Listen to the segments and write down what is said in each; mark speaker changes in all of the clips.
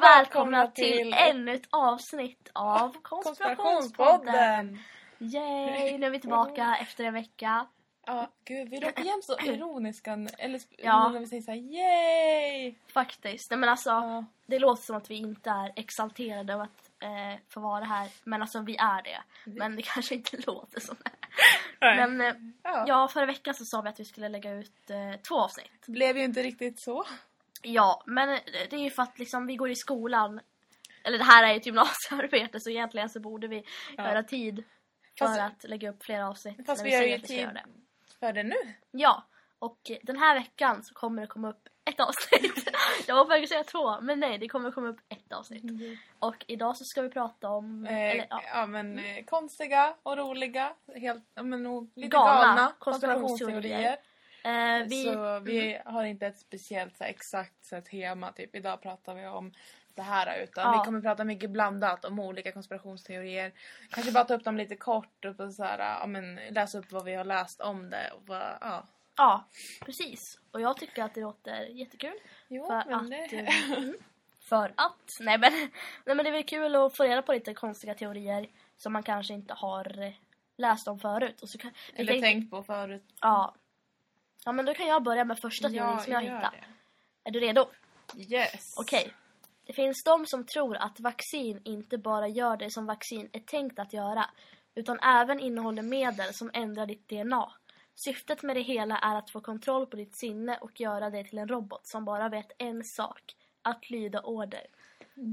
Speaker 1: välkomna till ännu ett avsnitt av Konspirationspodden.
Speaker 2: Konspirationspodden!
Speaker 1: Yay, nu är vi tillbaka efter en vecka.
Speaker 2: Ja, gud, vi låter jämt så ironiska eller sp-
Speaker 1: Ja.
Speaker 2: när vi säger så här, yay!
Speaker 1: Faktiskt. Nej, men alltså,
Speaker 2: Ja,
Speaker 1: det låter som att vi inte är exalterade av att eh, få vara här. Men alltså, vi är det. Men det kanske inte låter som det. Men eh,
Speaker 2: ja.
Speaker 1: ja, förra veckan så sa vi att vi skulle lägga ut eh, två avsnitt.
Speaker 2: Det blev ju inte riktigt så.
Speaker 1: Ja, men eh, det är ju för att liksom, vi går i skolan. Eller det här är ju ett gymnasiearbete så egentligen så borde vi
Speaker 2: Ja.
Speaker 1: göra tid för
Speaker 2: Fast-
Speaker 1: att lägga upp flera avsnitt.
Speaker 2: Fast
Speaker 1: när
Speaker 2: vi gör
Speaker 1: säger
Speaker 2: ju
Speaker 1: att ska
Speaker 2: tid
Speaker 1: göra det.
Speaker 2: för det nu.
Speaker 1: Ja, och eh, den här veckan så kommer det komma upp ett avsnitt. Jag var på väg att säga två, men nej, det kommer komma upp ett avsnitt. Och idag så ska vi prata om...
Speaker 2: Eh,
Speaker 1: Mm. eller,
Speaker 2: ja.
Speaker 1: ja,
Speaker 2: men eh, konstiga och roliga, helt, ja, men och lite
Speaker 1: Galna
Speaker 2: galna,
Speaker 1: konspirationsteorier.
Speaker 2: konspirationsteorier.
Speaker 1: eh, vi,
Speaker 2: Så vi Mm. har inte ett speciellt så här, exakt så här, tema, typ idag pratar vi om det här utan
Speaker 1: Ja.
Speaker 2: vi kommer prata mycket blandat om olika konspirationsteorier. Kanske bara ta upp dem lite kort och på så här, ja, men, läsa upp vad vi har läst om det. Och bara, ja.
Speaker 1: Ja, precis. Och jag tycker att det låter jättekul.
Speaker 2: Jo,
Speaker 1: För
Speaker 2: men
Speaker 1: att,
Speaker 2: det...
Speaker 1: eh, För att... Nej men, nej, men det är väl kul att få reda på lite konstiga teorier som man kanske inte har eh, läst om förut. Och så kan, vi
Speaker 2: Eller
Speaker 1: tänkte-
Speaker 2: tänkt på förut.
Speaker 1: Ja. Ja, men då kan jag börja med första teorin som jag
Speaker 2: gör
Speaker 1: hittade.
Speaker 2: det.
Speaker 1: Är du redo?
Speaker 2: Yes.
Speaker 1: Okej. Det finns de som tror att vaccin inte bara gör det som vaccin är tänkt att göra utan även innehåller medel som ändrar ditt DNA. Syftet med det hela är att få kontroll på ditt sinne och göra dig till en robot som bara vet en sak. Att lyda order.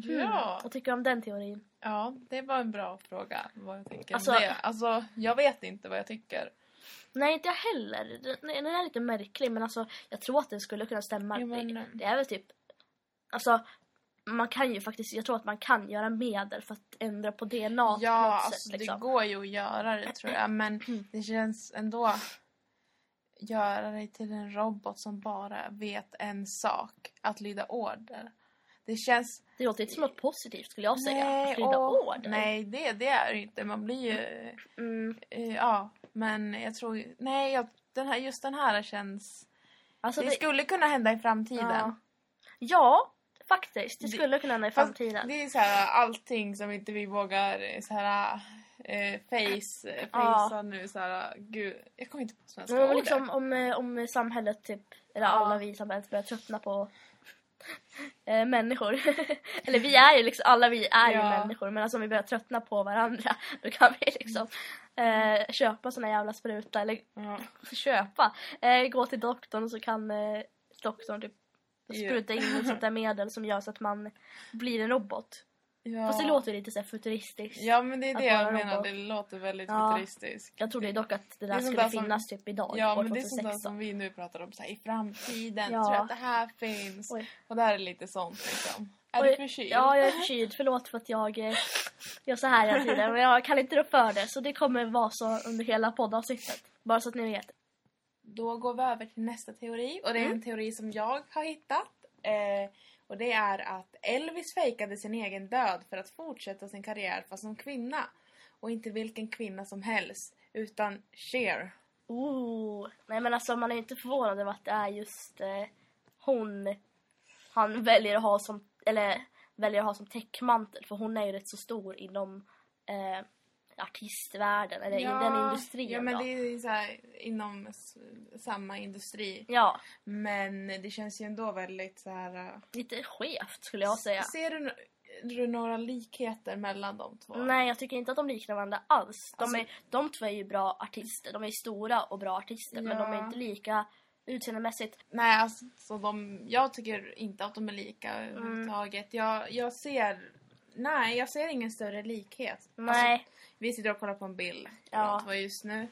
Speaker 2: Ja.
Speaker 1: Vad tycker du om den teorin?
Speaker 2: ja, det var en bra fråga. Vad jag, tycker
Speaker 1: Alltså-
Speaker 2: om det. Alltså, jag vet inte vad jag tycker.
Speaker 1: Nej, inte jag heller. Den- Den är lite märklig men alltså, jag tror att den skulle kunna stämma.
Speaker 2: Jo, men-
Speaker 1: Det- Det är väl typ... Alltså, man kan ju faktiskt, jag tror att man kan göra medel för att ändra på DNA på
Speaker 2: Ja,
Speaker 1: något
Speaker 2: alltså,
Speaker 1: sätt. Liksom. Mm.
Speaker 2: det går ju att göra det tror jag. Men det känns ändå... Göra dig till en robot som bara vet en sak. Att lyda order. Det känns...
Speaker 1: Det låter inte som något positivt skulle jag säga. att lyda
Speaker 2: åh,
Speaker 1: order.
Speaker 2: nej det, det är det inte. Man blir ju...
Speaker 1: Mm,
Speaker 2: eh, ja, men jag tror... ju- Nej, jag, den här, just den här känns...
Speaker 1: alltså
Speaker 2: det,
Speaker 1: det,
Speaker 2: skulle kunna hända i framtiden.
Speaker 1: Ja, ja, faktiskt. Det
Speaker 2: Det-
Speaker 1: skulle kunna hända i
Speaker 2: Fast
Speaker 1: framtiden.
Speaker 2: Det är så här allting som inte vi vågar eh, så här eh, face, eh,
Speaker 1: Ja.
Speaker 2: facea nu så här gud, jag kommer inte på svenska
Speaker 1: Men om,
Speaker 2: ordet.
Speaker 1: liksom, om, eh, om samhället, typ, eller
Speaker 2: Ja.
Speaker 1: alla vi i samhället börjar tröttna på eh, människor. eller vi är ju liksom, alla vi är ju
Speaker 2: Ja.
Speaker 1: människor. Men alltså om vi börjar tröttna på varandra då kan vi liksom
Speaker 2: Mm.
Speaker 1: eh, köpa såna jävla spruta. Eller
Speaker 2: Ja.
Speaker 1: köpa. Eh, gå till doktorn och så kan eh, doktorn typ
Speaker 2: Ja.
Speaker 1: spruta in ett sånt där medel som gör så att man blir en robot.
Speaker 2: Ja.
Speaker 1: Fast det låter ju lite så här futuristiskt.
Speaker 2: Ja men det är
Speaker 1: att
Speaker 2: det jag
Speaker 1: vara
Speaker 2: menar,
Speaker 1: robot.
Speaker 2: det låter väldigt
Speaker 1: Ja.
Speaker 2: futuristiskt.
Speaker 1: Jag trodde ju dock att det där
Speaker 2: Det är sånt
Speaker 1: skulle
Speaker 2: där som-
Speaker 1: finnas typ idag,
Speaker 2: Ja
Speaker 1: år
Speaker 2: men det är sånt där
Speaker 1: 2016.
Speaker 2: som vi nu pratar om så här, i framtiden,
Speaker 1: Ja.
Speaker 2: tror jag att det här finns.
Speaker 1: Oj.
Speaker 2: Och där är lite sånt liksom. Är
Speaker 1: Oj,
Speaker 2: du förkyld?
Speaker 1: Ja, jag är förkyld. Förlåt för att jag eh, gör så här hela tiden. Men jag kan inte rå för det. Så det kommer vara så under hela poddavsnittet. Bara så att ni vet.
Speaker 2: Då går vi över till nästa teori och det
Speaker 1: Mm.
Speaker 2: är en teori som jag har hittat. Eh, och det är att Elvis fejkade sin egen död för att fortsätta sin karriär fast som kvinna. Och inte vilken kvinna som helst, utan Cher.
Speaker 1: Ooh. Nej men alltså man är ju inte förvånad över att det är just eh, hon han väljer att ha som, eller väljer att ha som täckmantel. För hon är ju rätt så stor inom eh, artistvärlden. Eller i den industrin
Speaker 2: Ja, men
Speaker 1: då.
Speaker 2: det är så här, inom s- samma industri.
Speaker 1: Ja,
Speaker 2: Men det känns ju ändå väldigt så här... eh,
Speaker 1: lite skevt skulle jag säga.
Speaker 2: Ser du, no- du några likheter mellan de två?
Speaker 1: Nej, jag tycker inte att de liknar varandra alls. De,
Speaker 2: Alltså-
Speaker 1: är, de två är ju bra artister. De är stora och bra artister, men de är
Speaker 2: Ja.
Speaker 1: inte lika utseendemässigt.
Speaker 2: Nej, alltså så de, jag tycker inte att de är lika överhuvudtaget. Jag, jag ser... Nej, jag ser ingen större likhet.
Speaker 1: Nej,
Speaker 2: Alltså, vi sitter och kollar på en bild
Speaker 1: Ja.
Speaker 2: ja. två just nu.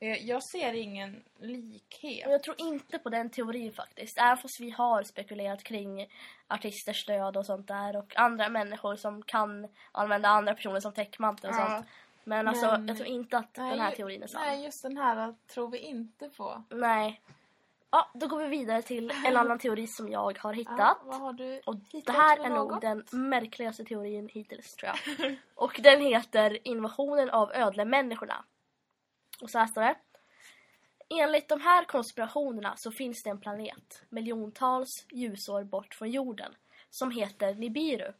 Speaker 2: Eh, Jag ser ingen likhet.
Speaker 1: och jag tror inte på den teorin faktiskt. Även fast vi har spekulerat kring artisters död och sånt där och andra människor som kan använda andra personer som täckmantel och
Speaker 2: Ja.
Speaker 1: sånt. Men alltså,
Speaker 2: Men-
Speaker 1: jag tror inte att
Speaker 2: Nej,
Speaker 1: den här
Speaker 2: ju-
Speaker 1: teorin är sann. Nej.
Speaker 2: Nej, just den här eh, tror vi inte på.
Speaker 1: Ja, då går vi vidare till en annan teori som jag har hittat.
Speaker 2: Ja, vad har du
Speaker 1: Och
Speaker 2: hittat
Speaker 1: det här
Speaker 2: för
Speaker 1: är nog
Speaker 2: något?
Speaker 1: den märkligaste teorin hittills tror jag. Och den heter Invasionen av ödlemänniskorna. Och så här står det. Enligt de här konspirationerna så finns det en planet miljontals ljusår bort från jorden som heter Nibiru.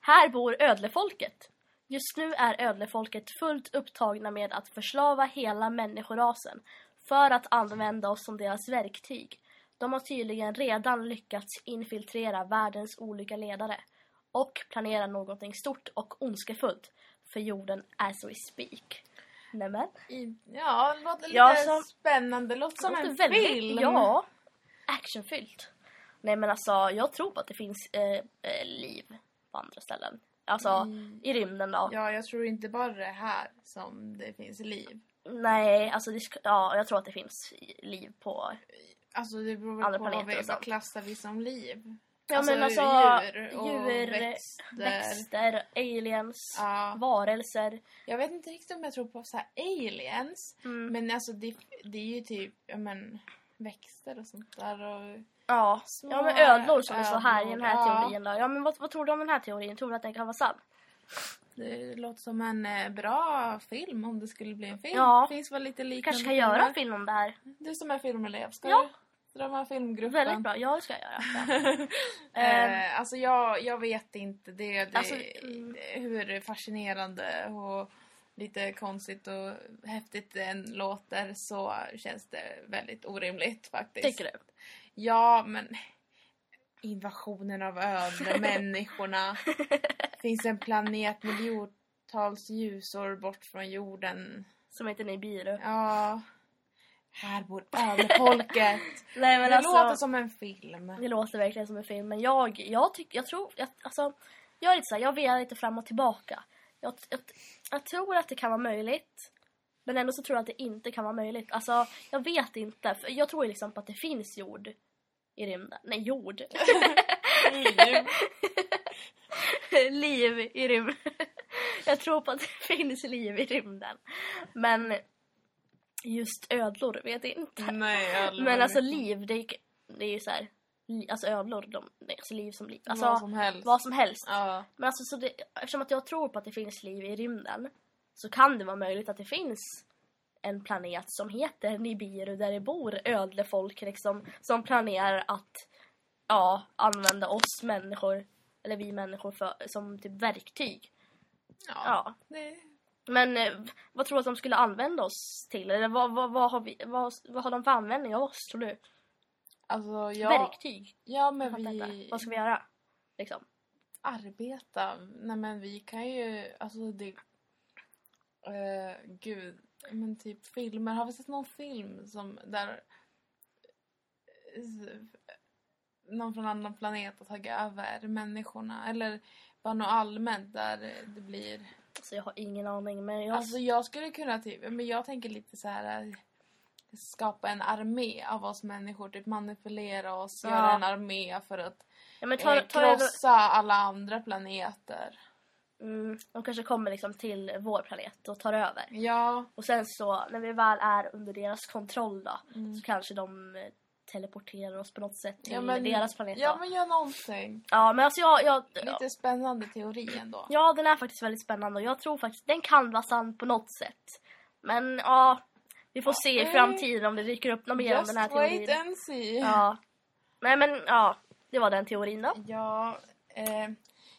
Speaker 1: Här bor ödlefolket. Just nu är ödlefolket fullt upptagna med att förslava hela människorasen för att använda oss som deras verktyg. De har tydligen redan lyckats infiltrera världens olika ledare och planerar någonting stort och ondskefullt för jorden as we speak. Nämen,
Speaker 2: I, ja, det låter lite
Speaker 1: Ja, som-
Speaker 2: spännande. Låter som
Speaker 1: låter
Speaker 2: en
Speaker 1: väldigt-
Speaker 2: film.
Speaker 1: Ja, actionfyllt. Nej men alltså, jag tror på att det finns eh, eh, liv på andra ställen. Alltså, i rymden då.
Speaker 2: Mm. ja, jag tror inte bara det här som det finns liv.
Speaker 1: Nej, alltså det, sk- ja, jag tror att det finns liv på...
Speaker 2: Alltså det beror väl
Speaker 1: Andra
Speaker 2: på
Speaker 1: planeter
Speaker 2: vad, vi-
Speaker 1: och sånt.
Speaker 2: vad klassar vi som liv?
Speaker 1: Ja, men alltså,
Speaker 2: djur och
Speaker 1: djur,
Speaker 2: växter.
Speaker 1: Växter, aliens,
Speaker 2: Ja.
Speaker 1: varelser.
Speaker 2: Jag vet inte riktigt om jag tror på så här aliens.
Speaker 1: Mm.
Speaker 2: Men alltså det, det är ju typ ja, men, växter och sånt där. Och,
Speaker 1: Ja.
Speaker 2: Små
Speaker 1: ja, men ödlor som det står här i
Speaker 2: ödlor,
Speaker 1: den här
Speaker 2: ja.
Speaker 1: teorin då. Ja, men vad, vad tror du om den här teorin? Tror du att den kan vara sann?
Speaker 2: det låter som en eh, bra film om det skulle bli en film.
Speaker 1: Ja.
Speaker 2: Finns väl lite
Speaker 1: Vi
Speaker 2: liknande
Speaker 1: kanske kan göra en
Speaker 2: filmer.
Speaker 1: film om det här.
Speaker 2: Du som är filmelev, ska
Speaker 1: Ja.
Speaker 2: du dra med filmgruppen?
Speaker 1: Väldigt bra, ja det ska jag göra. Ehm.
Speaker 2: eh, alltså jag, jag vet inte. Det, det,
Speaker 1: Alltså, mm.
Speaker 2: Hur fascinerande och lite konstigt och häftigt den låter så känns det väldigt orimligt faktiskt.
Speaker 1: Tycker du?
Speaker 2: Ja, men invasionen av ödlor, människorna. Finns en planet miljontals ljusår bort från jorden.
Speaker 1: Som heter Nibiru.
Speaker 2: Ja, här bor ödlefolket.
Speaker 1: Nej men
Speaker 2: det
Speaker 1: alltså.
Speaker 2: låter som en film.
Speaker 1: Det låter verkligen som en film. Men jag, jag, tyck, jag tror... Jag, alltså, jag är lite så här, jag velar lite fram och tillbaka. Jag, jag, jag tror att det kan vara möjligt. Men ändå så tror jag att det inte kan vara möjligt. Alltså, jag vet inte. För jag tror ju liksom på att det finns jord i rymden. Nej, jord. liv i rymden. jag tror på att det finns liv i rymden. Men just ödlor vet jag inte.
Speaker 2: Nej, ödlor.
Speaker 1: Men alltså liv, det är, det är ju så här, li- alltså ödlor, de, nej, alltså liv som liv. Alltså,
Speaker 2: vad som helst.
Speaker 1: vad som helst.
Speaker 2: Ja.
Speaker 1: Men alltså, så det, eftersom att jag tror på att det finns liv i rymden så kan det vara möjligt att det finns en planet som heter Nibiru där det bor ödlefolk liksom, som planerar att ja, använda oss människor, eller vi människor, för, som typ verktyg.
Speaker 2: Ja.
Speaker 1: Ja.
Speaker 2: Det,
Speaker 1: Men eh, vad tror du att de skulle använda oss till? Eller vad, vad, vad, har, vi, vad, vad har de för användning av oss, tror du?
Speaker 2: alltså jag...
Speaker 1: Verktyg?
Speaker 2: Ja,
Speaker 1: Jag
Speaker 2: men
Speaker 1: fattar inte.
Speaker 2: vi
Speaker 1: Vad ska vi göra? Liksom.
Speaker 2: arbeta. Nej, men vi kan ju... Alltså det... Eh, gud. Men typ filmer. Har vi sett någon film som där... eh, Någon från annan planet har tagit över människorna? Eller bara något allmänt där det blir...
Speaker 1: Alltså, jag har ingen aning. Men jag...
Speaker 2: Alltså jag skulle kunna typ, men jag tänker lite så här eh, skapa en armé av oss människor, typ manipulera oss,
Speaker 1: Ja.
Speaker 2: göra en armé för att
Speaker 1: ja, men
Speaker 2: eh,
Speaker 1: ta, ta över...
Speaker 2: krossa alla andra planeter.
Speaker 1: mm, de kanske kommer liksom till vår planet och tar över.
Speaker 2: Ja,
Speaker 1: Och sen så, när vi väl är under deras kontroll då,
Speaker 2: Mm.
Speaker 1: så kanske de eh, teleporterar oss på något sätt till
Speaker 2: ja men,
Speaker 1: deras planet.
Speaker 2: Ja
Speaker 1: då.
Speaker 2: men gör någonting.
Speaker 1: ja, men alltså jag... jag
Speaker 2: Lite spännande teori ändå.
Speaker 1: Ja, den är faktiskt väldigt spännande och jag tror faktiskt den kan vara sann på något sätt. Men ja, vi får se i
Speaker 2: eh,
Speaker 1: framtiden om det dyker upp något mer om
Speaker 2: Just
Speaker 1: den här teorin.
Speaker 2: wait and see.
Speaker 1: Ja. Nej men ja, det var den teorin då.
Speaker 2: Ja, eh,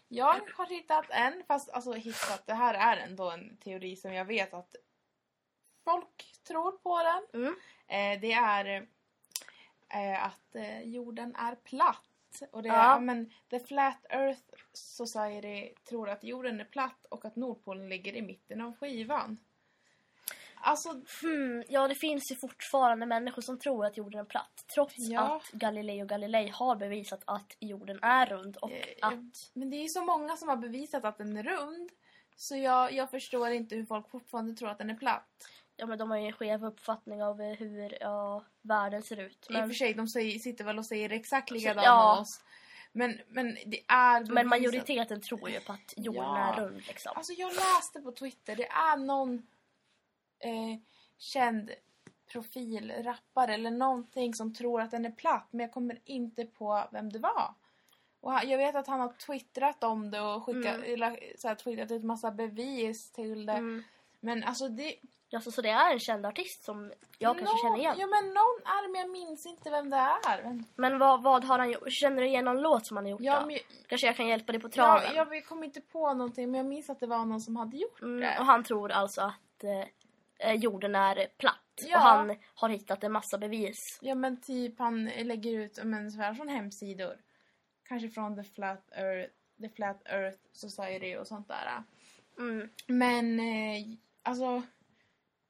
Speaker 2: jag har hittat en, fast alltså hittat, det här är ändå en teori som jag vet att folk tror på den.
Speaker 1: Mm.
Speaker 2: Eh, det är eh, att eh, jorden är platt. Och det är,
Speaker 1: Ja.
Speaker 2: ja. men, The Flat Earth Society tror att jorden är platt och att Nordpolen ligger i mitten av skivan. Alltså,
Speaker 1: Hmm, ja, det finns ju fortfarande människor som tror att jorden är platt. Trots
Speaker 2: Ja.
Speaker 1: att Galileo Galilei har bevisat att jorden är rund och
Speaker 2: Eh, ja.
Speaker 1: att...
Speaker 2: Men det är ju så många som har bevisat att den är rund. Så jag, jag förstår inte hur folk fortfarande tror att den är platt.
Speaker 1: Ja, men de har ju en skev uppfattning av eh, hur ja, världen ser ut.
Speaker 2: I och
Speaker 1: Men, Alltså,
Speaker 2: för sig, de säger, sitter väl och säger exakt likadant
Speaker 1: Ja.
Speaker 2: med oss. Men, men det är
Speaker 1: men
Speaker 2: bevisat.
Speaker 1: majoriteten tror ju på att jorden
Speaker 2: Ja.
Speaker 1: är rund liksom.
Speaker 2: Alltså jag läste på Twitter, det är någon eh, känd profilrappare eller någonting som tror att den är platt. Men jag kommer inte på vem det var. Och han, jag vet att han har twittrat om det och skickat,
Speaker 1: Mm.
Speaker 2: eller, så här, twittrat ut massa bevis till det.
Speaker 1: Mm.
Speaker 2: Men alltså det...
Speaker 1: Ja, så, så det är en känd artist som jag kanske
Speaker 2: Någon-
Speaker 1: känner igen.
Speaker 2: Ja men någon arm, jag minns inte vem det är. Vem-
Speaker 1: Men vad, vad har han gjort? Känner du igen någon låt som han har gjort
Speaker 2: Ja,
Speaker 1: då?
Speaker 2: men,
Speaker 1: Kanske jag kan hjälpa dig på traven.
Speaker 2: ja, jag kommer inte på någonting men jag minns att det var någon som hade gjort
Speaker 1: Mm, och
Speaker 2: det.
Speaker 1: han tror alltså att eh, eh, jorden är platt.
Speaker 2: Ja.
Speaker 1: Och han har hittat en massa bevis.
Speaker 2: Ja men typ han lägger ut men, så här, från hemsidor. Kanske från The Flat Earth, The Flat Earth Society och sånt där.
Speaker 1: Mm.
Speaker 2: Men eh, alltså,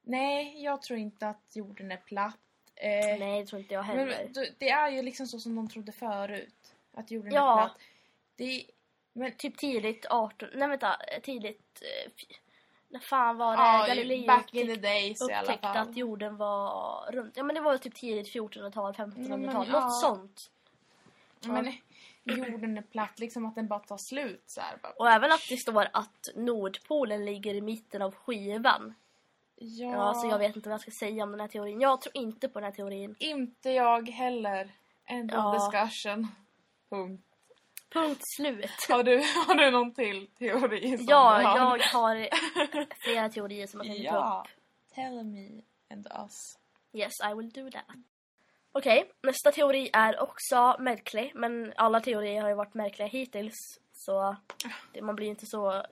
Speaker 2: nej jag tror inte att jorden är platt. Eh,
Speaker 1: Nej, det tror inte jag
Speaker 2: men,
Speaker 1: heller.
Speaker 2: du- det är ju liksom så som de trodde förut. Att jorden
Speaker 1: Ja.
Speaker 2: är platt. Det, men
Speaker 1: Typ tidigt 18... Nej vänta, eh, tidigt... eh, fj- När fan var det?
Speaker 2: ja,
Speaker 1: Galileo
Speaker 2: back in the
Speaker 1: upptäck-
Speaker 2: days i alla
Speaker 1: upptäckte
Speaker 2: fall.
Speaker 1: att jorden var runt. Ja men det var ju typ tidigt 1400-tal, 1500-tal.
Speaker 2: Mm, men
Speaker 1: något
Speaker 2: ja.
Speaker 1: sånt.
Speaker 2: Men jorden är platt, liksom att den bara tar slut så här. Bara,
Speaker 1: Och även att det står att Nordpolen ligger i mitten av skivan.
Speaker 2: ja,
Speaker 1: Ja. Alltså jag vet inte vad jag ska säga om den här teorin. Jag tror inte på den här teorin.
Speaker 2: Inte jag heller. End
Speaker 1: Ja.
Speaker 2: of discussion. Punkt.
Speaker 1: Punkt slut.
Speaker 2: Har du, har du någon till teori? Som
Speaker 1: Ja,
Speaker 2: du har?
Speaker 1: jag har flera teorier som jag tänkte ta upp.
Speaker 2: Ja. Tell me and us.
Speaker 1: Yes, I will do that. Okej, nästa teori är också märklig. Men alla teorier har ju varit märkliga hittills. Så det, man blir ju inte så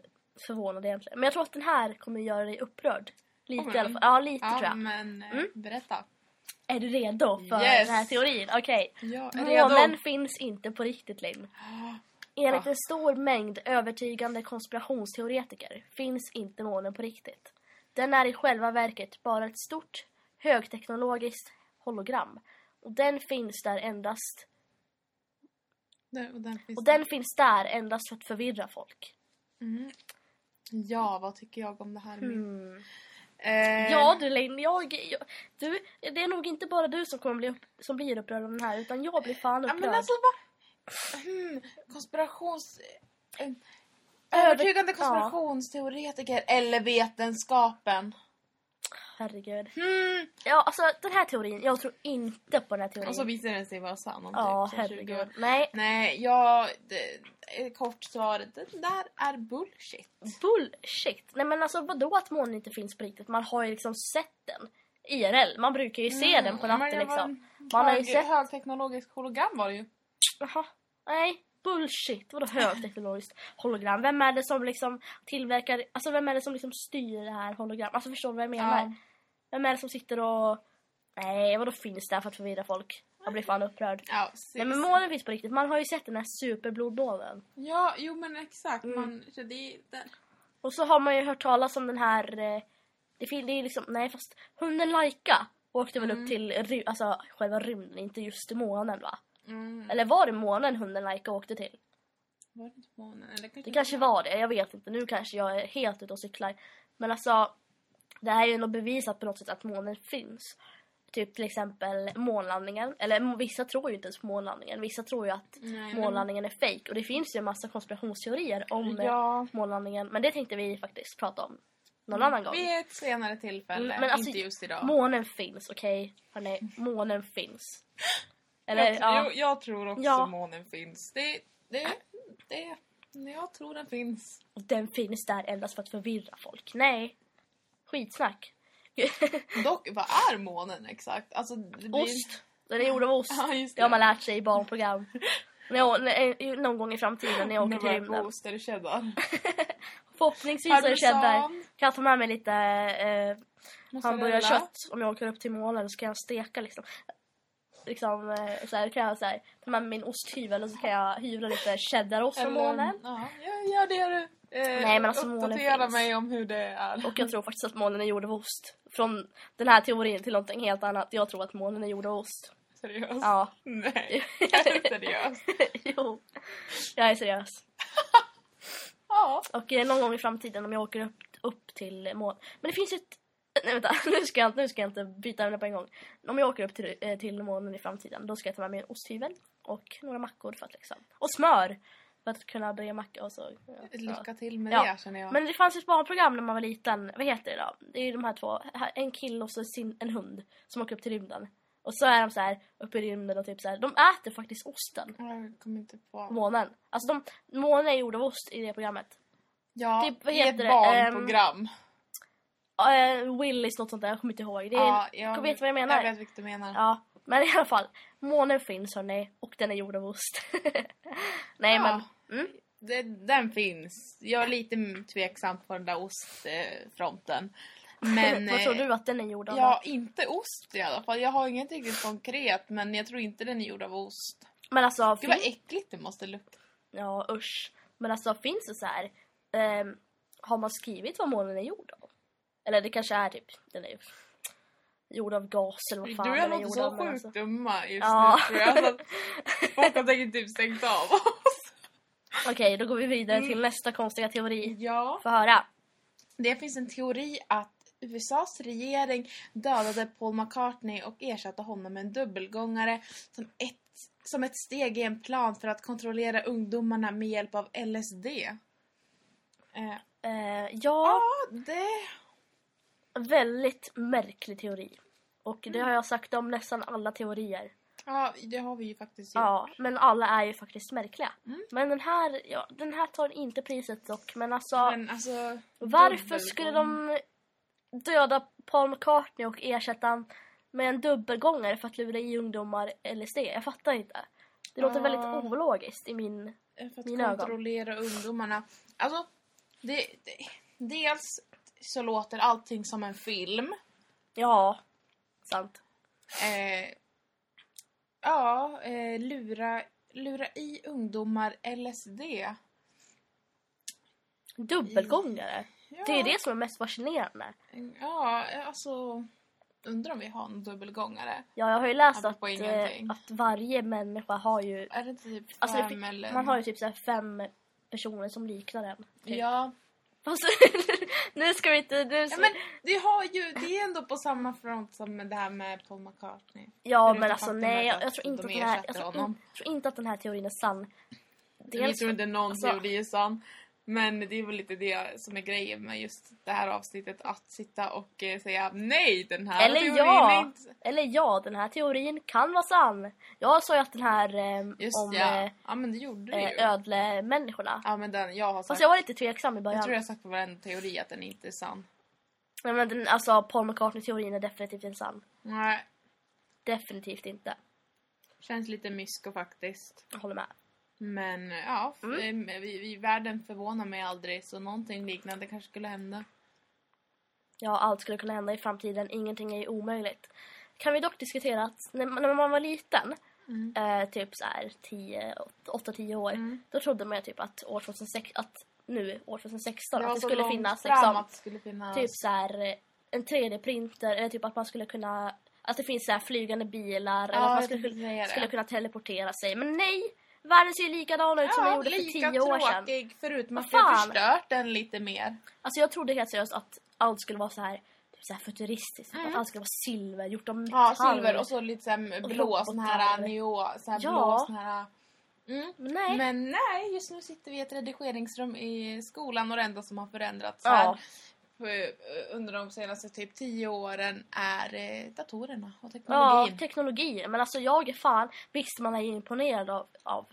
Speaker 1: förvånad egentligen. Men jag tror att den här kommer göra dig upprörd. Lite
Speaker 2: Kommer
Speaker 1: i alla
Speaker 2: den?
Speaker 1: fall. Ja, lite
Speaker 2: Ja,
Speaker 1: tror jag.
Speaker 2: men eh,
Speaker 1: Mm.
Speaker 2: berätta.
Speaker 1: Är du redo för
Speaker 2: Yes.
Speaker 1: den här teorin? Okej.
Speaker 2: Ja,
Speaker 1: Månen finns inte på riktigt, Linn. Enligt
Speaker 2: Va?
Speaker 1: en stor mängd övertygande konspirationsteoretiker finns inte månen på riktigt. Den är i själva verket bara ett stort högteknologiskt hologram. Och den finns där endast
Speaker 2: Den, och den finns
Speaker 1: och den finns där endast för att förvirra folk.
Speaker 2: Mm. Ja, vad tycker jag om det här? Mm.
Speaker 1: Mm.
Speaker 2: Eh,
Speaker 1: Ja du Linn, jag, jag, du, det är nog inte bara du som kommer bli upp, som blir upprörd av den här utan jag blir fan
Speaker 2: ja,
Speaker 1: upprörd.
Speaker 2: men alltså vad... Hmm, konspirations... eh,
Speaker 1: Över-
Speaker 2: Övertygande
Speaker 1: ja.
Speaker 2: konspirationsteoretiker eller vetenskapen.
Speaker 1: Herregud.
Speaker 2: Hmm.
Speaker 1: Ja alltså den här teorin, jag tror inte på den här teorin.
Speaker 2: Och så visar den sig vara sann om
Speaker 1: ja
Speaker 2: typ så 20
Speaker 1: herregud.
Speaker 2: år.
Speaker 1: Nej,
Speaker 2: Nej, jag... Det, eh, kort svar, det där är bullshit.
Speaker 1: Bullshit! Nej men alltså vadå att månen inte finns på riktigt? Man har ju liksom sett den. IRL. Man brukar ju se den på
Speaker 2: Men
Speaker 1: natten
Speaker 2: det var
Speaker 1: liksom.
Speaker 2: en
Speaker 1: Man har ju
Speaker 2: hög-
Speaker 1: sett-
Speaker 2: Högteknologiskt hologram var det ju.
Speaker 1: Jaha. Nej. Bullshit. Vadå högteknologiskt hologram? Vem är det som liksom tillverkar... Alltså vem är det som liksom styr det här hologram? Alltså förstår du vad jag menar?
Speaker 2: Ja.
Speaker 1: Vem är det som sitter och... Nej vadå finns där för att förvirra folk? Jag blir fan upprörd.
Speaker 2: Ja,
Speaker 1: Nej men
Speaker 2: precis.
Speaker 1: månen finns på riktigt. Man har ju sett den här superblodmånen.
Speaker 2: ja, jo men exakt.
Speaker 1: Mm.
Speaker 2: Man, så det, det,
Speaker 1: Och så har man ju hört talas om den här... eh, Det, fin- det är liksom... Nej, fast hunden Laika åkte väl
Speaker 2: Mm.
Speaker 1: upp till ry- alltså, själva rymden, inte just till månen va?
Speaker 2: mm.
Speaker 1: Eller var det månen hunden Laika åkte till?
Speaker 2: Var det inte månen? Eller kanske
Speaker 1: Det kanske var det, jag vet inte. Nu kanske jag är helt ute och cyklar. Men alltså, det här är ju nog bevisat på något sätt att månen finns. Typ till exempel månlandningen. Eller m- vissa tror ju inte ens på månlandningen. Vissa tror ju att
Speaker 2: Nej, men-
Speaker 1: månlandningen är fejk. Och det finns ju en massa konspirationsteorier om eh,
Speaker 2: Ja.
Speaker 1: månlandningen. Men det tänkte vi faktiskt prata om
Speaker 2: Mm.
Speaker 1: någon annan gång.
Speaker 2: Vid ett senare tillfälle,
Speaker 1: Mm, men alltså-
Speaker 2: inte just idag.
Speaker 1: Månen finns, okej? Hörni, månen finns. Eller
Speaker 2: jag,
Speaker 1: ja.
Speaker 2: jag, jag tror också
Speaker 1: Ja.
Speaker 2: månen finns. Det, det, det, jag tror den finns.
Speaker 1: Och den finns där endast för att förvirra folk. Nej. Skitsnack.
Speaker 2: Dock, vad är månen exakt? Alltså, det blir...
Speaker 1: ost. Den är gjord av ost.
Speaker 2: Ja, just
Speaker 1: Det har man lärt sig i barnprogram. När jag, när, i- någon gång i framtiden när jag åker till rymden.
Speaker 2: Ost, är det cheddar?
Speaker 1: Förhoppningsvis är det cheddar.
Speaker 2: Parmesan,
Speaker 1: Kan jag ta med mig lite eh,
Speaker 2: mozzarella.
Speaker 1: hamburgarkött om jag åker upp till månen så kan jag steka liksom. Liksom eh, så här, kan jag så här, ta med mig min osthyvel och så kan jag hyvla lite cheddarost från
Speaker 2: Eller-
Speaker 1: månen.
Speaker 2: Ja, jag gör det du. Eh,
Speaker 1: Nej, men alltså, månen
Speaker 2: uppdatera
Speaker 1: finns.
Speaker 2: mig om hur det är.
Speaker 1: Och jag tror faktiskt att månen är gjord av ost. Från den här teorin till någonting helt annat. Jag tror att månen är gjord av ost.
Speaker 2: Seriöst?
Speaker 1: Ja.
Speaker 2: Nej, är du seriös?
Speaker 1: jo. Jag är seriös.
Speaker 2: Ja.
Speaker 1: Och eh, någon gång i framtiden om jag åker upp, upp till månen. Men det finns ju ett... Nej vänta, nu ska, jag, inte- nu ska jag inte byta ämne på en gång. Om jag åker upp till, eh, till månen i framtiden då ska jag ta med mig en osthyvel och några mackor för att liksom... Och smör! För att kunna brygga macka och så. ja, ja.
Speaker 2: Lycka till med
Speaker 1: Ja,
Speaker 2: det känner jag.
Speaker 1: Men det fanns ju ett barnprogram när man var liten. Vad heter det då? Det är ju de här två. här- En kille och så sin, en hund som åker upp till rymden. Och så är de så här uppe i rymden och typ så här. De äter faktiskt osten.
Speaker 2: Jag kommer inte
Speaker 1: på
Speaker 2: på.
Speaker 1: Månen. Alltså de, månen är gjord av ost i det programmet.
Speaker 2: Ja,
Speaker 1: Typ, vad
Speaker 2: i ett
Speaker 1: heter det?
Speaker 2: barnprogram.
Speaker 1: eh, Willis något sånt där, jag kommer inte ihåg. Det är,
Speaker 2: Ja, jag-
Speaker 1: du vet vad jag menar.
Speaker 2: Jag vet vilket du menar.
Speaker 1: Ja, men i alla fall. Månen finns hörni och den är gjord av ost. Nej
Speaker 2: Ja.
Speaker 1: men, mm,
Speaker 2: Det, den finns. Jag är lite m- tveksam på den där ostfronten. Men,
Speaker 1: vad tror
Speaker 2: eh,
Speaker 1: du att den är gjord av?
Speaker 2: Ja, inte ost i alla fall. Jag har inget riktigt konkret, men jag tror inte den är gjord av ost.
Speaker 1: Men alltså,
Speaker 2: Gud vad
Speaker 1: fin-
Speaker 2: äckligt det måste lukta.
Speaker 1: ja usch. Men alltså finns det så här, ehm, har man skrivit vad månen är gjord av? Eller det kanske är typ, den är ju gjord av gas eller vad
Speaker 2: Du
Speaker 1: fan
Speaker 2: och jag
Speaker 1: den
Speaker 2: låter
Speaker 1: är gjord
Speaker 2: så
Speaker 1: av.
Speaker 2: sjukt
Speaker 1: men alltså-
Speaker 2: dumma just
Speaker 1: Ja.
Speaker 2: nu tror jag. Så att folk har säkert typ stängt av oss.
Speaker 1: Okej, då går vi vidare till
Speaker 2: Mm.
Speaker 1: nästa konstiga teori.
Speaker 2: Ja.
Speaker 1: Få höra.
Speaker 2: Det finns en teori att USAs regering dödade Paul McCartney och ersatte honom med en dubbelgångare som ett, som ett steg i en plan för att kontrollera ungdomarna med hjälp av LSD. Eh,
Speaker 1: Eh, ja,
Speaker 2: ja, det...
Speaker 1: väldigt märklig teori. Och
Speaker 2: Mm.
Speaker 1: det har jag sagt om nästan alla teorier.
Speaker 2: Typ. Ja, det har vi ju faktiskt gjort.
Speaker 1: Ja, men alla är ju faktiskt märkliga.
Speaker 2: Mm.
Speaker 1: Men den här, ja, den här tar inte priset dock. Men alltså,
Speaker 2: Men alltså...
Speaker 1: varför
Speaker 2: dubbelgång-
Speaker 1: skulle de döda Paul McCartney och ersätta han med en dubbelgångare för att lura i ungdomar LSD? Jag fattar inte. Det låter
Speaker 2: Ja.
Speaker 1: väldigt ologiskt i min...
Speaker 2: Eh, För att
Speaker 1: Mina ögon.
Speaker 2: kontrollera ungdomarna. Alltså, det, det, dels så låter allting som en film.
Speaker 1: Ja, sant.
Speaker 2: Eh, ja, eh, lura, lura i ungdomar LSD.
Speaker 1: Dubbelgångare.
Speaker 2: Ja,
Speaker 1: Det är det som är mest fascinerande.
Speaker 2: Ja, alltså... Undrar om vi har en dubbelgångare.
Speaker 1: Ja, jag har ju läst att,
Speaker 2: Apropå
Speaker 1: eh,
Speaker 2: ingenting.
Speaker 1: att varje människa har ju...
Speaker 2: Är det inte typ fem
Speaker 1: Alltså, det fin-
Speaker 2: eller...
Speaker 1: Man har ju typ så här fem personer som liknar en. Typ.
Speaker 2: Ja.
Speaker 1: Fast, nu ska vi inte... Nu,
Speaker 2: ja, men det har ju... Det är ändå på samma front som med det här med Paul McCartney.
Speaker 1: ja,
Speaker 2: förutom
Speaker 1: men alltså
Speaker 2: faktumet
Speaker 1: nej, jag,
Speaker 2: att
Speaker 1: jag, tror inte
Speaker 2: de
Speaker 1: att den här, jag,
Speaker 2: ersätter
Speaker 1: tror in,
Speaker 2: honom.
Speaker 1: jag tror inte att den här teorin är sann.
Speaker 2: Vi
Speaker 1: Dels,
Speaker 2: tror inte någon
Speaker 1: alltså-
Speaker 2: teori är sann. Men det är väl lite det som är grejen med just det här avsnittet. Att sitta och eh, säga nej, den här
Speaker 1: eller
Speaker 2: teorin är
Speaker 1: ja,
Speaker 2: inte...
Speaker 1: eller ja, den här teorin kan vara sann. Jag sa ju att den här eh,
Speaker 2: Just
Speaker 1: om
Speaker 2: ja. Ja, men det gjorde du
Speaker 1: eh,
Speaker 2: ju.
Speaker 1: eh, ödlemänniskorna.
Speaker 2: Ja, men den jag har sagt.
Speaker 1: Fast jag var lite tveksam i
Speaker 2: jag
Speaker 1: början.
Speaker 2: tror jag har sagt på varenda teori att den inte är sann.
Speaker 1: Nej, Men den, alltså Paul McCartney-teorin är definitivt inte sann.
Speaker 2: Nej,
Speaker 1: Definitivt inte.
Speaker 2: känns lite mysko faktiskt.
Speaker 1: Jag håller med.
Speaker 2: Men ja, f-
Speaker 1: Mm.
Speaker 2: eh, vi, vi, världen förvånar mig aldrig. Så någonting liknande kanske skulle hända.
Speaker 1: Ja, allt skulle kunna hända i framtiden. Ingenting är ju omöjligt. Kan vi dock diskutera att när man, när man var liten,
Speaker 2: Mm.
Speaker 1: eh, typ så här 10, 8-10 år,
Speaker 2: Mm.
Speaker 1: då trodde man ju typ att år 2006, att nu, år 2016,
Speaker 2: var
Speaker 1: att det
Speaker 2: så
Speaker 1: skulle
Speaker 2: långt
Speaker 1: finnas
Speaker 2: fram
Speaker 1: liksom,
Speaker 2: att det skulle finnas.
Speaker 1: typ så här eh, en 3D-printer eller typ att man skulle kunna, att det finns så här flygande bilar eller att man
Speaker 2: jag
Speaker 1: skulle,
Speaker 2: tänkte säga det.
Speaker 1: skulle kunna teleportera sig. Men nej! Världen ser ju likadan ut som den gjorde för 10
Speaker 2: lika
Speaker 1: år sedan.
Speaker 2: tråkig förutom
Speaker 1: Vad
Speaker 2: att vi har
Speaker 1: fan?
Speaker 2: förstört den lite mer.
Speaker 1: Alltså jag trodde helt seriöst att allt skulle vara så här, typ så här futuristiskt.
Speaker 2: Mm.
Speaker 1: Att allt skulle vara silver, gjort av
Speaker 2: Ja,
Speaker 1: metall.
Speaker 2: silver och så lite så här
Speaker 1: Och
Speaker 2: blå
Speaker 1: robotar.
Speaker 2: sån här neo, så här
Speaker 1: Ja.
Speaker 2: blå sån här... Mm.
Speaker 1: Men Nej.
Speaker 2: Men nej, just nu sitter vi i ett redigeringsrum i skolan och det enda som har förändrats
Speaker 1: ja.
Speaker 2: här på- under de senaste typ tio åren är eh, datorerna och
Speaker 1: ja, typ.
Speaker 2: teknologin.
Speaker 1: teknologin. Men alltså jag är fan, visst man är ju imponerad av, av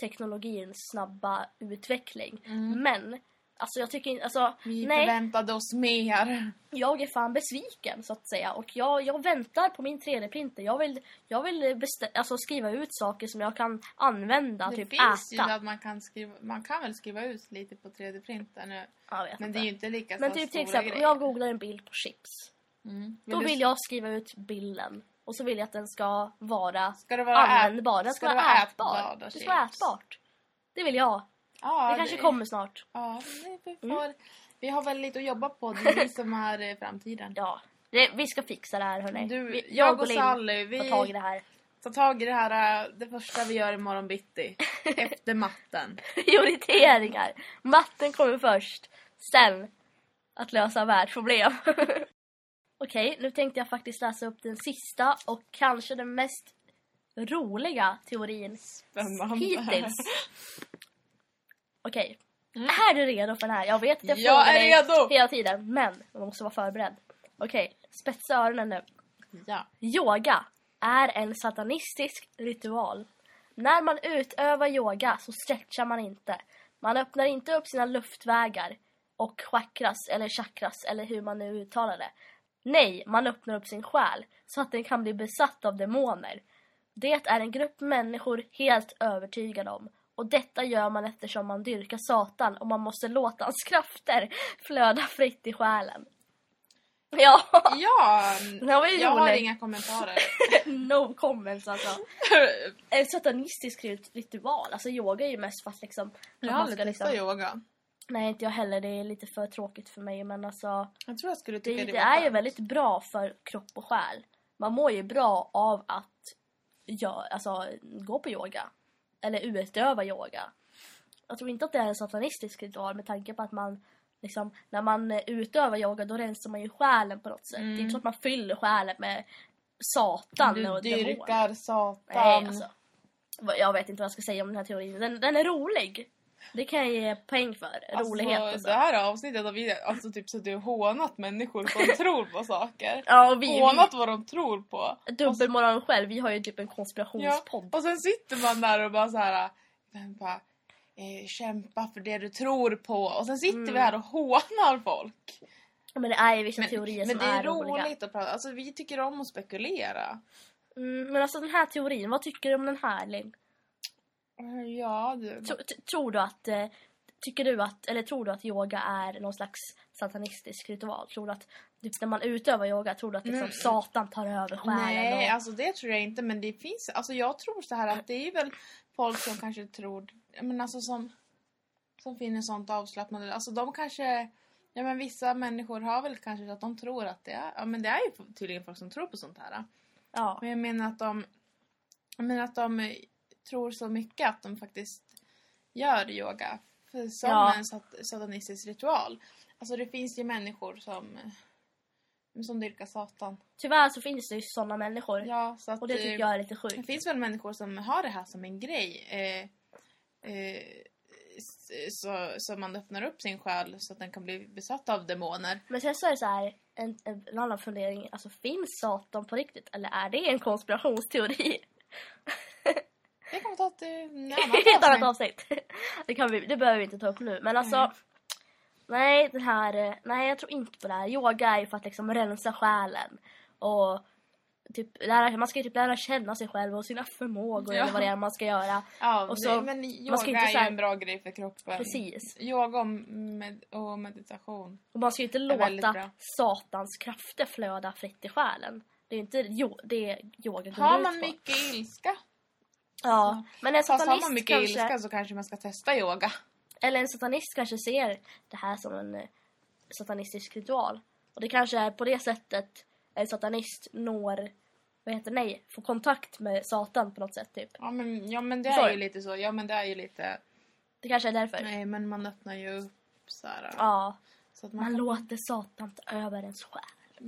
Speaker 1: teknologins snabba utveckling.
Speaker 2: Mm.
Speaker 1: Men, alltså jag tycker inte, alltså
Speaker 2: vi
Speaker 1: nej.
Speaker 2: förväntade oss mer.
Speaker 1: jag är fan besviken så att säga. Och jag, jag väntar på min 3D-printer. Jag vill, jag vill bestä- alltså, skriva ut saker som jag kan använda,
Speaker 2: det
Speaker 1: typ
Speaker 2: finns ju
Speaker 1: äta.
Speaker 2: att man kan skriva, man kan väl skriva ut lite på 3D-printer nu.
Speaker 1: Ja, jag vet
Speaker 2: Men det är ju inte lika
Speaker 1: men
Speaker 2: så
Speaker 1: typ till
Speaker 2: stora
Speaker 1: exempel, om
Speaker 2: grejer.
Speaker 1: jag googlar en bild på chips.
Speaker 2: Mm.
Speaker 1: Då
Speaker 2: du-
Speaker 1: vill jag skriva ut bilden. Och så vill jag att den ska vara
Speaker 2: Ska det vara ät-
Speaker 1: användbar. Den ska,
Speaker 2: ska det
Speaker 1: vara
Speaker 2: vara
Speaker 1: ätbar.
Speaker 2: ätbara
Speaker 1: det ska
Speaker 2: chips?
Speaker 1: vara ätbart. Det vill jag.
Speaker 2: Ja,
Speaker 1: det kanske kommer Mm. snart.
Speaker 2: Ja, nej, vi, får, vi har väl lite att jobba på. Det är vi som har eh, framtiden.
Speaker 1: Ja, det, vi ska fixa det här hörni.
Speaker 2: Du,
Speaker 1: vi,
Speaker 2: jag, och
Speaker 1: Linn
Speaker 2: Sally, vi
Speaker 1: tar tag i det här.
Speaker 2: här. eh, Det första vi gör imorgon bitti. efter matten.
Speaker 1: Prioriteringar. Matten kommer först. Sen att lösa världsproblem. Okej, nu tänkte jag faktiskt läsa upp den sista och kanske den mest roliga teorin
Speaker 2: Spännande.
Speaker 1: hittills. Okej.
Speaker 2: Mm.
Speaker 1: Är du redo för den här? Jag vet att jag,
Speaker 2: Jag
Speaker 1: frågar
Speaker 2: är
Speaker 1: dig
Speaker 2: redo.
Speaker 1: hela tiden, men man måste vara förberedd. Okej, spetsa öronen nu.
Speaker 2: Ja.
Speaker 1: Yoga är en satanistisk ritual. När man utövar yoga så stretchar man inte. Man öppnar inte upp sina luftvägar. och chakras eller chakras eller hur man nu uttalar det. Nej, man öppnar upp sin själ så att den kan bli besatt av demoner. Det är en grupp människor helt övertygade om. Och detta gör man eftersom man dyrkar Satan och man måste låta hans krafter flöda fritt i själen. Ja,
Speaker 2: Ja,
Speaker 1: det var ju
Speaker 2: jag har
Speaker 1: roligt.
Speaker 2: inga kommentarer.
Speaker 1: No comments alltså. En Eh, satanistisk rit- ritual. Alltså yoga är ju mest för att liksom...
Speaker 2: jag
Speaker 1: att
Speaker 2: har
Speaker 1: man
Speaker 2: aldrig
Speaker 1: ska liksom-
Speaker 2: testat yoga.
Speaker 1: Nej, inte jag heller. Det är lite för tråkigt för mig. Men alltså,
Speaker 2: Jag tror jag skulle tycka
Speaker 1: det,
Speaker 2: det,
Speaker 1: det
Speaker 2: var
Speaker 1: är ju
Speaker 2: skönt.
Speaker 1: väldigt bra för kropp och själ. Man mår ju bra av att gör, alltså, gå på yoga. Eller utöva yoga. Jag tror inte att det är en satanistisk ritual med tanke på att man liksom, när man eh, utövar yoga då rensar man ju själen på något sätt.
Speaker 2: Mm.
Speaker 1: Det är inte så att man fyller själen med satan
Speaker 2: Du
Speaker 1: och demoner.
Speaker 2: dyrkar satan.
Speaker 1: Nej, alltså. Vad- Jag vet inte vad jag ska säga om den här teorin. Den, den är rolig. Det kan jag ge poäng för. Rolighet
Speaker 2: alltså.
Speaker 1: alltså.
Speaker 2: Det här avsnittet har vi alltså typ så du hånat människor som tror på saker.
Speaker 1: Ja, och vi, vi
Speaker 2: Hånat vad de tror på.
Speaker 1: dubbelmoralen själv, vi har ju typ en
Speaker 2: Ja,
Speaker 1: konspirationspodd.
Speaker 2: och sen sitter man där och bara så här, äh, bara, eh, kämpa för det du tror på. Och sen sitter
Speaker 1: Mm.
Speaker 2: vi här och hånar folk.
Speaker 1: Men det är ju vissa teorier
Speaker 2: Men, men
Speaker 1: som
Speaker 2: det är
Speaker 1: roliga.
Speaker 2: roligt att prata, alltså vi tycker om att spekulera.
Speaker 1: Mm, men alltså den här teorin, vad tycker du om den här Linn?
Speaker 2: Eh, Ja du.
Speaker 1: Tro- t- Tror du att... eh, Tycker du att, eller tror du att yoga är någon slags satanistisk ritual? Tror du att, typ när man utövar yoga, tror du att liksom
Speaker 2: Mm.
Speaker 1: satan tar över själen?
Speaker 2: Nej,
Speaker 1: och,
Speaker 2: alltså det tror jag inte men det finns, alltså jag tror så här att det är väl folk som kanske tror, men alltså som, som finner sånt avslappnande, alltså de kanske, ja men vissa människor har väl kanske att de tror att det är, ja men det är ju tydligen folk som tror på sånt här.
Speaker 1: ja.
Speaker 2: Men jag menar att de, jag menar att de eh, tror så mycket att de faktiskt gör yoga för- som
Speaker 1: Ja.
Speaker 2: en sat- satanistisk ritual. Alltså det finns ju människor som, eh, som dyrkar satan.
Speaker 1: Tyvärr så finns det ju sådana människor.
Speaker 2: Ja, så att,
Speaker 1: Och det tycker
Speaker 2: eh,
Speaker 1: jag är lite
Speaker 2: Det
Speaker 1: sjukt.
Speaker 2: finns väl människor som har det här som en grej. Eh, eh, s- eh, så, så man öppnar upp sin själ så att den kan bli besatt av demoner.
Speaker 1: Men sen så är det så här, en, en, en annan fundering. Alltså finns Satan på riktigt? Eller är det en konspirationsteori?
Speaker 2: Det kommer ta ett eh, en
Speaker 1: Ett annat
Speaker 2: annan
Speaker 1: avsnitt. Det, kan vi, det behöver vi inte ta upp nu. Men alltså.
Speaker 2: Nej.
Speaker 1: Nej, den här, eh, nej, jag tror inte på det här. Yoga är ju för att liksom rensa själen. Och typ lära, man ska ju typ lära känna sig själv och sina förmågor
Speaker 2: Ja.
Speaker 1: eller vad det är man ska göra.
Speaker 2: Ja,
Speaker 1: Och så-
Speaker 2: det, men yoga
Speaker 1: man ska inte
Speaker 2: är
Speaker 1: så
Speaker 2: ju
Speaker 1: här-
Speaker 2: en bra grej för kroppen.
Speaker 1: Precis.
Speaker 2: Yoga och, med, och meditation.
Speaker 1: Och man ska ju inte
Speaker 2: är väldigt
Speaker 1: låta
Speaker 2: bra.
Speaker 1: satans krafter flöda fritt i själen. Det är ju inte jo, det yoga går
Speaker 2: Har
Speaker 1: ut
Speaker 2: man
Speaker 1: på.
Speaker 2: mycket ilska,
Speaker 1: Ja, men en
Speaker 2: fast har
Speaker 1: satanist
Speaker 2: man mycket
Speaker 1: kanske...
Speaker 2: ilska så kanske man ska testa yoga.
Speaker 1: Eller en satanist kanske ser det här som en eh, satanistisk ritual. Och det kanske är på det sättet en satanist når, vad heter det, nej, får kontakt med satan på något sätt typ.
Speaker 2: Ja men, ja, men det
Speaker 1: Sorry.
Speaker 2: är ju lite så. Ja men det är ju lite...
Speaker 1: Det kanske är därför.
Speaker 2: Nej men man öppnar ju upp så här.
Speaker 1: Ja,
Speaker 2: Så att
Speaker 1: man
Speaker 2: man,
Speaker 1: låter satan ta över ens själ.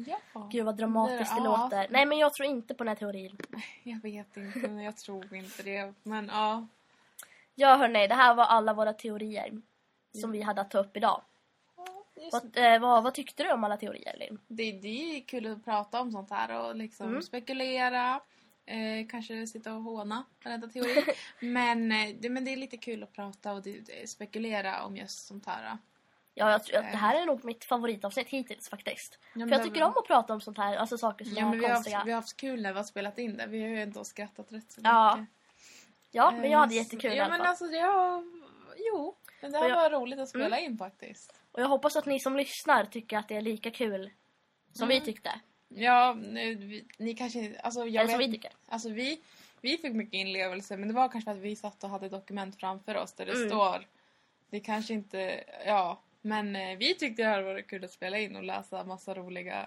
Speaker 2: ja.
Speaker 1: Gud vad dramatiskt det
Speaker 2: Ja.
Speaker 1: låter. Nej men jag tror inte på den här teorin.
Speaker 2: Jag vet inte, men jag tror inte det. Men ja.
Speaker 1: Ja hörni, det här var alla våra teorier som vi hade att ta upp idag.
Speaker 2: Just,
Speaker 1: Vad, eh, vad, vad tyckte du om alla teorier Linn?
Speaker 2: det, det är kul att prata om sånt här och liksom
Speaker 1: Mm.
Speaker 2: spekulera. Eh, kanske sitta och håna varenda teori. men, eh, det, men det är lite kul att prata och det, det, spekulera om just sånt här.
Speaker 1: Ja, jag tror att det
Speaker 2: Eh.
Speaker 1: här är nog mitt favoritavsnitt hittills faktiskt.
Speaker 2: men
Speaker 1: För jag
Speaker 2: det-
Speaker 1: tycker om att prata om sånt här, alltså saker som
Speaker 2: Ja, men
Speaker 1: är
Speaker 2: vi, har
Speaker 1: konstiga.
Speaker 2: haft, vi har haft kul när vi har spelat in det. Vi har ju ändå skrattat rätt så
Speaker 1: Ja,
Speaker 2: mycket.
Speaker 1: Ja, men jag hade
Speaker 2: Eh,
Speaker 1: jättekul i
Speaker 2: ja,
Speaker 1: alla
Speaker 2: men
Speaker 1: fall.
Speaker 2: alltså det har... Jo, men det
Speaker 1: Och
Speaker 2: här
Speaker 1: jag- Mm.
Speaker 2: var roligt att spela in faktiskt.
Speaker 1: Och jag hoppas att ni som lyssnar tycker att det är lika kul
Speaker 2: Mm.
Speaker 1: som vi tyckte.
Speaker 2: Ja, nu, vi, ni kanske inte... Alltså, jag
Speaker 1: Eller som
Speaker 2: vet
Speaker 1: vi tycker.
Speaker 2: Alltså vi, vi fick mycket inlevelse men det var kanske för att vi satt och hade dokument framför oss där det
Speaker 1: Mm.
Speaker 2: står. Det kanske inte, ja. Men eh, vi tyckte det här var kul att spela in och läsa massa roliga.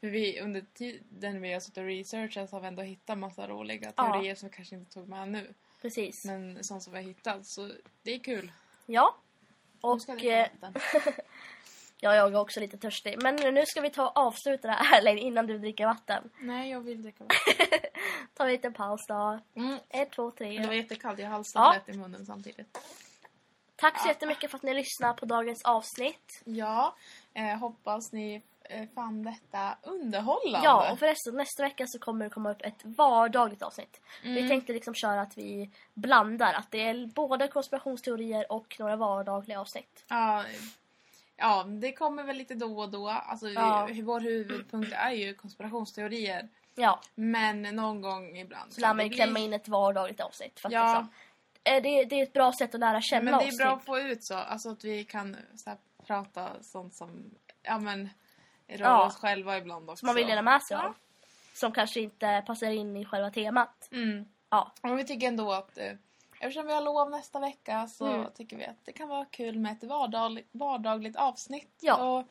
Speaker 2: För vi, under tiden vi har suttit och researchat så har vi ändå hittat massa roliga
Speaker 1: Ja.
Speaker 2: teorier som vi kanske inte tog med nu.
Speaker 1: Precis.
Speaker 2: Men sånt som vi har hittat. Så det är kul.
Speaker 1: Ja.
Speaker 2: Nu
Speaker 1: Och
Speaker 2: ska vi
Speaker 1: eh,
Speaker 2: ta vatten.
Speaker 1: ja, jag är också lite törstig. Men nu ska vi ta och avsluta det här Elaine, innan du dricker vatten.
Speaker 2: Nej, jag vill dricka vatten.
Speaker 1: Ta en liten paus då.
Speaker 2: Mm.
Speaker 1: Ett, två,
Speaker 2: Det var
Speaker 1: tre.
Speaker 2: jättekallt, jag
Speaker 1: Ja.
Speaker 2: halsade lätt i munnen samtidigt.
Speaker 1: Tack så jättemycket för att ni lyssnar på dagens avsnitt.
Speaker 2: Ja, eh, hoppas ni eh, fann detta underhållande.
Speaker 1: Ja, och förresten nästa vecka så kommer det komma upp ett vardagligt avsnitt.
Speaker 2: Mm.
Speaker 1: Vi tänkte liksom köra att vi blandar, att det är både konspirationsteorier och några vardagliga avsnitt.
Speaker 2: Ja, Ja, det kommer väl lite då och då. Alltså,
Speaker 1: Ja.
Speaker 2: vi- Vår huvudpunkt är ju konspirationsteorier.
Speaker 1: Ja,
Speaker 2: Men någon gång ibland.
Speaker 1: så lär
Speaker 2: kan
Speaker 1: man
Speaker 2: det
Speaker 1: ju
Speaker 2: bli-
Speaker 1: klämma in ett vardagligt avsnitt. För att
Speaker 2: Ja.
Speaker 1: liksom, eh, det, det är ett bra sätt att lära känna
Speaker 2: Men det
Speaker 1: oss.
Speaker 2: är bra
Speaker 1: typ.
Speaker 2: att få ut så. Alltså att vi kan så här, prata sånt som... Ja, men... Rör
Speaker 1: Ja.
Speaker 2: oss själva ibland också.
Speaker 1: Som man vill dela med sig
Speaker 2: Ja.
Speaker 1: av. Som kanske inte passar in i själva temat.
Speaker 2: Mm.
Speaker 1: Ja,
Speaker 2: Men vi tycker ändå att eh, eftersom vi har lov nästa vecka så
Speaker 1: Mm.
Speaker 2: tycker vi att det kan vara kul med ett vardagligt, vardagligt avsnitt.
Speaker 1: Ja.
Speaker 2: Och,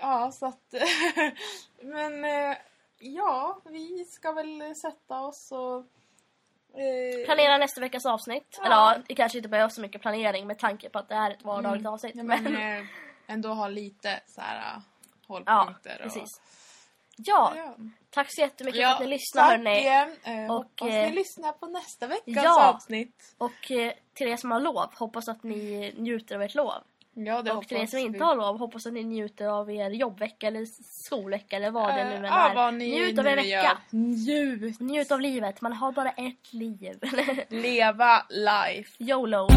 Speaker 2: ja, så att... men eh, ja, vi ska väl sätta oss och... eh,
Speaker 1: planera nästa veckas avsnitt.
Speaker 2: Ja.
Speaker 1: Eller ja, det kanske inte behövs så mycket planering med tanke på att det är ett vardagligt
Speaker 2: Mm.
Speaker 1: avsnitt.
Speaker 2: Ja,
Speaker 1: men,
Speaker 2: men eh, ändå ha lite så här eh, hållpunkter.
Speaker 1: precis.
Speaker 2: Och,
Speaker 1: ja,
Speaker 2: ja.
Speaker 1: tack så jättemycket
Speaker 2: Ja,
Speaker 1: för att ni lyssnade
Speaker 2: Tack
Speaker 1: hörni.
Speaker 2: igen. Eh,
Speaker 1: Och,
Speaker 2: hoppas
Speaker 1: eh,
Speaker 2: ni lyssnar på nästa veckas
Speaker 1: ja.
Speaker 2: avsnitt.
Speaker 1: Och eh, till er som har lov, hoppas att ni njuter av ert lov.
Speaker 2: Ja, det
Speaker 1: Och till er
Speaker 2: hoppas
Speaker 1: som
Speaker 2: vi.
Speaker 1: inte har lov, hoppas att ni njuter av er jobbvecka eller skolvecka eller vad det
Speaker 2: Eh,
Speaker 1: nu än
Speaker 2: ja,
Speaker 1: är.
Speaker 2: vad ni
Speaker 1: Njut av
Speaker 2: nu
Speaker 1: en vecka.
Speaker 2: gör. Njut.
Speaker 1: Njut av livet, man har bara ett liv.
Speaker 2: Leva life.
Speaker 1: YOLO!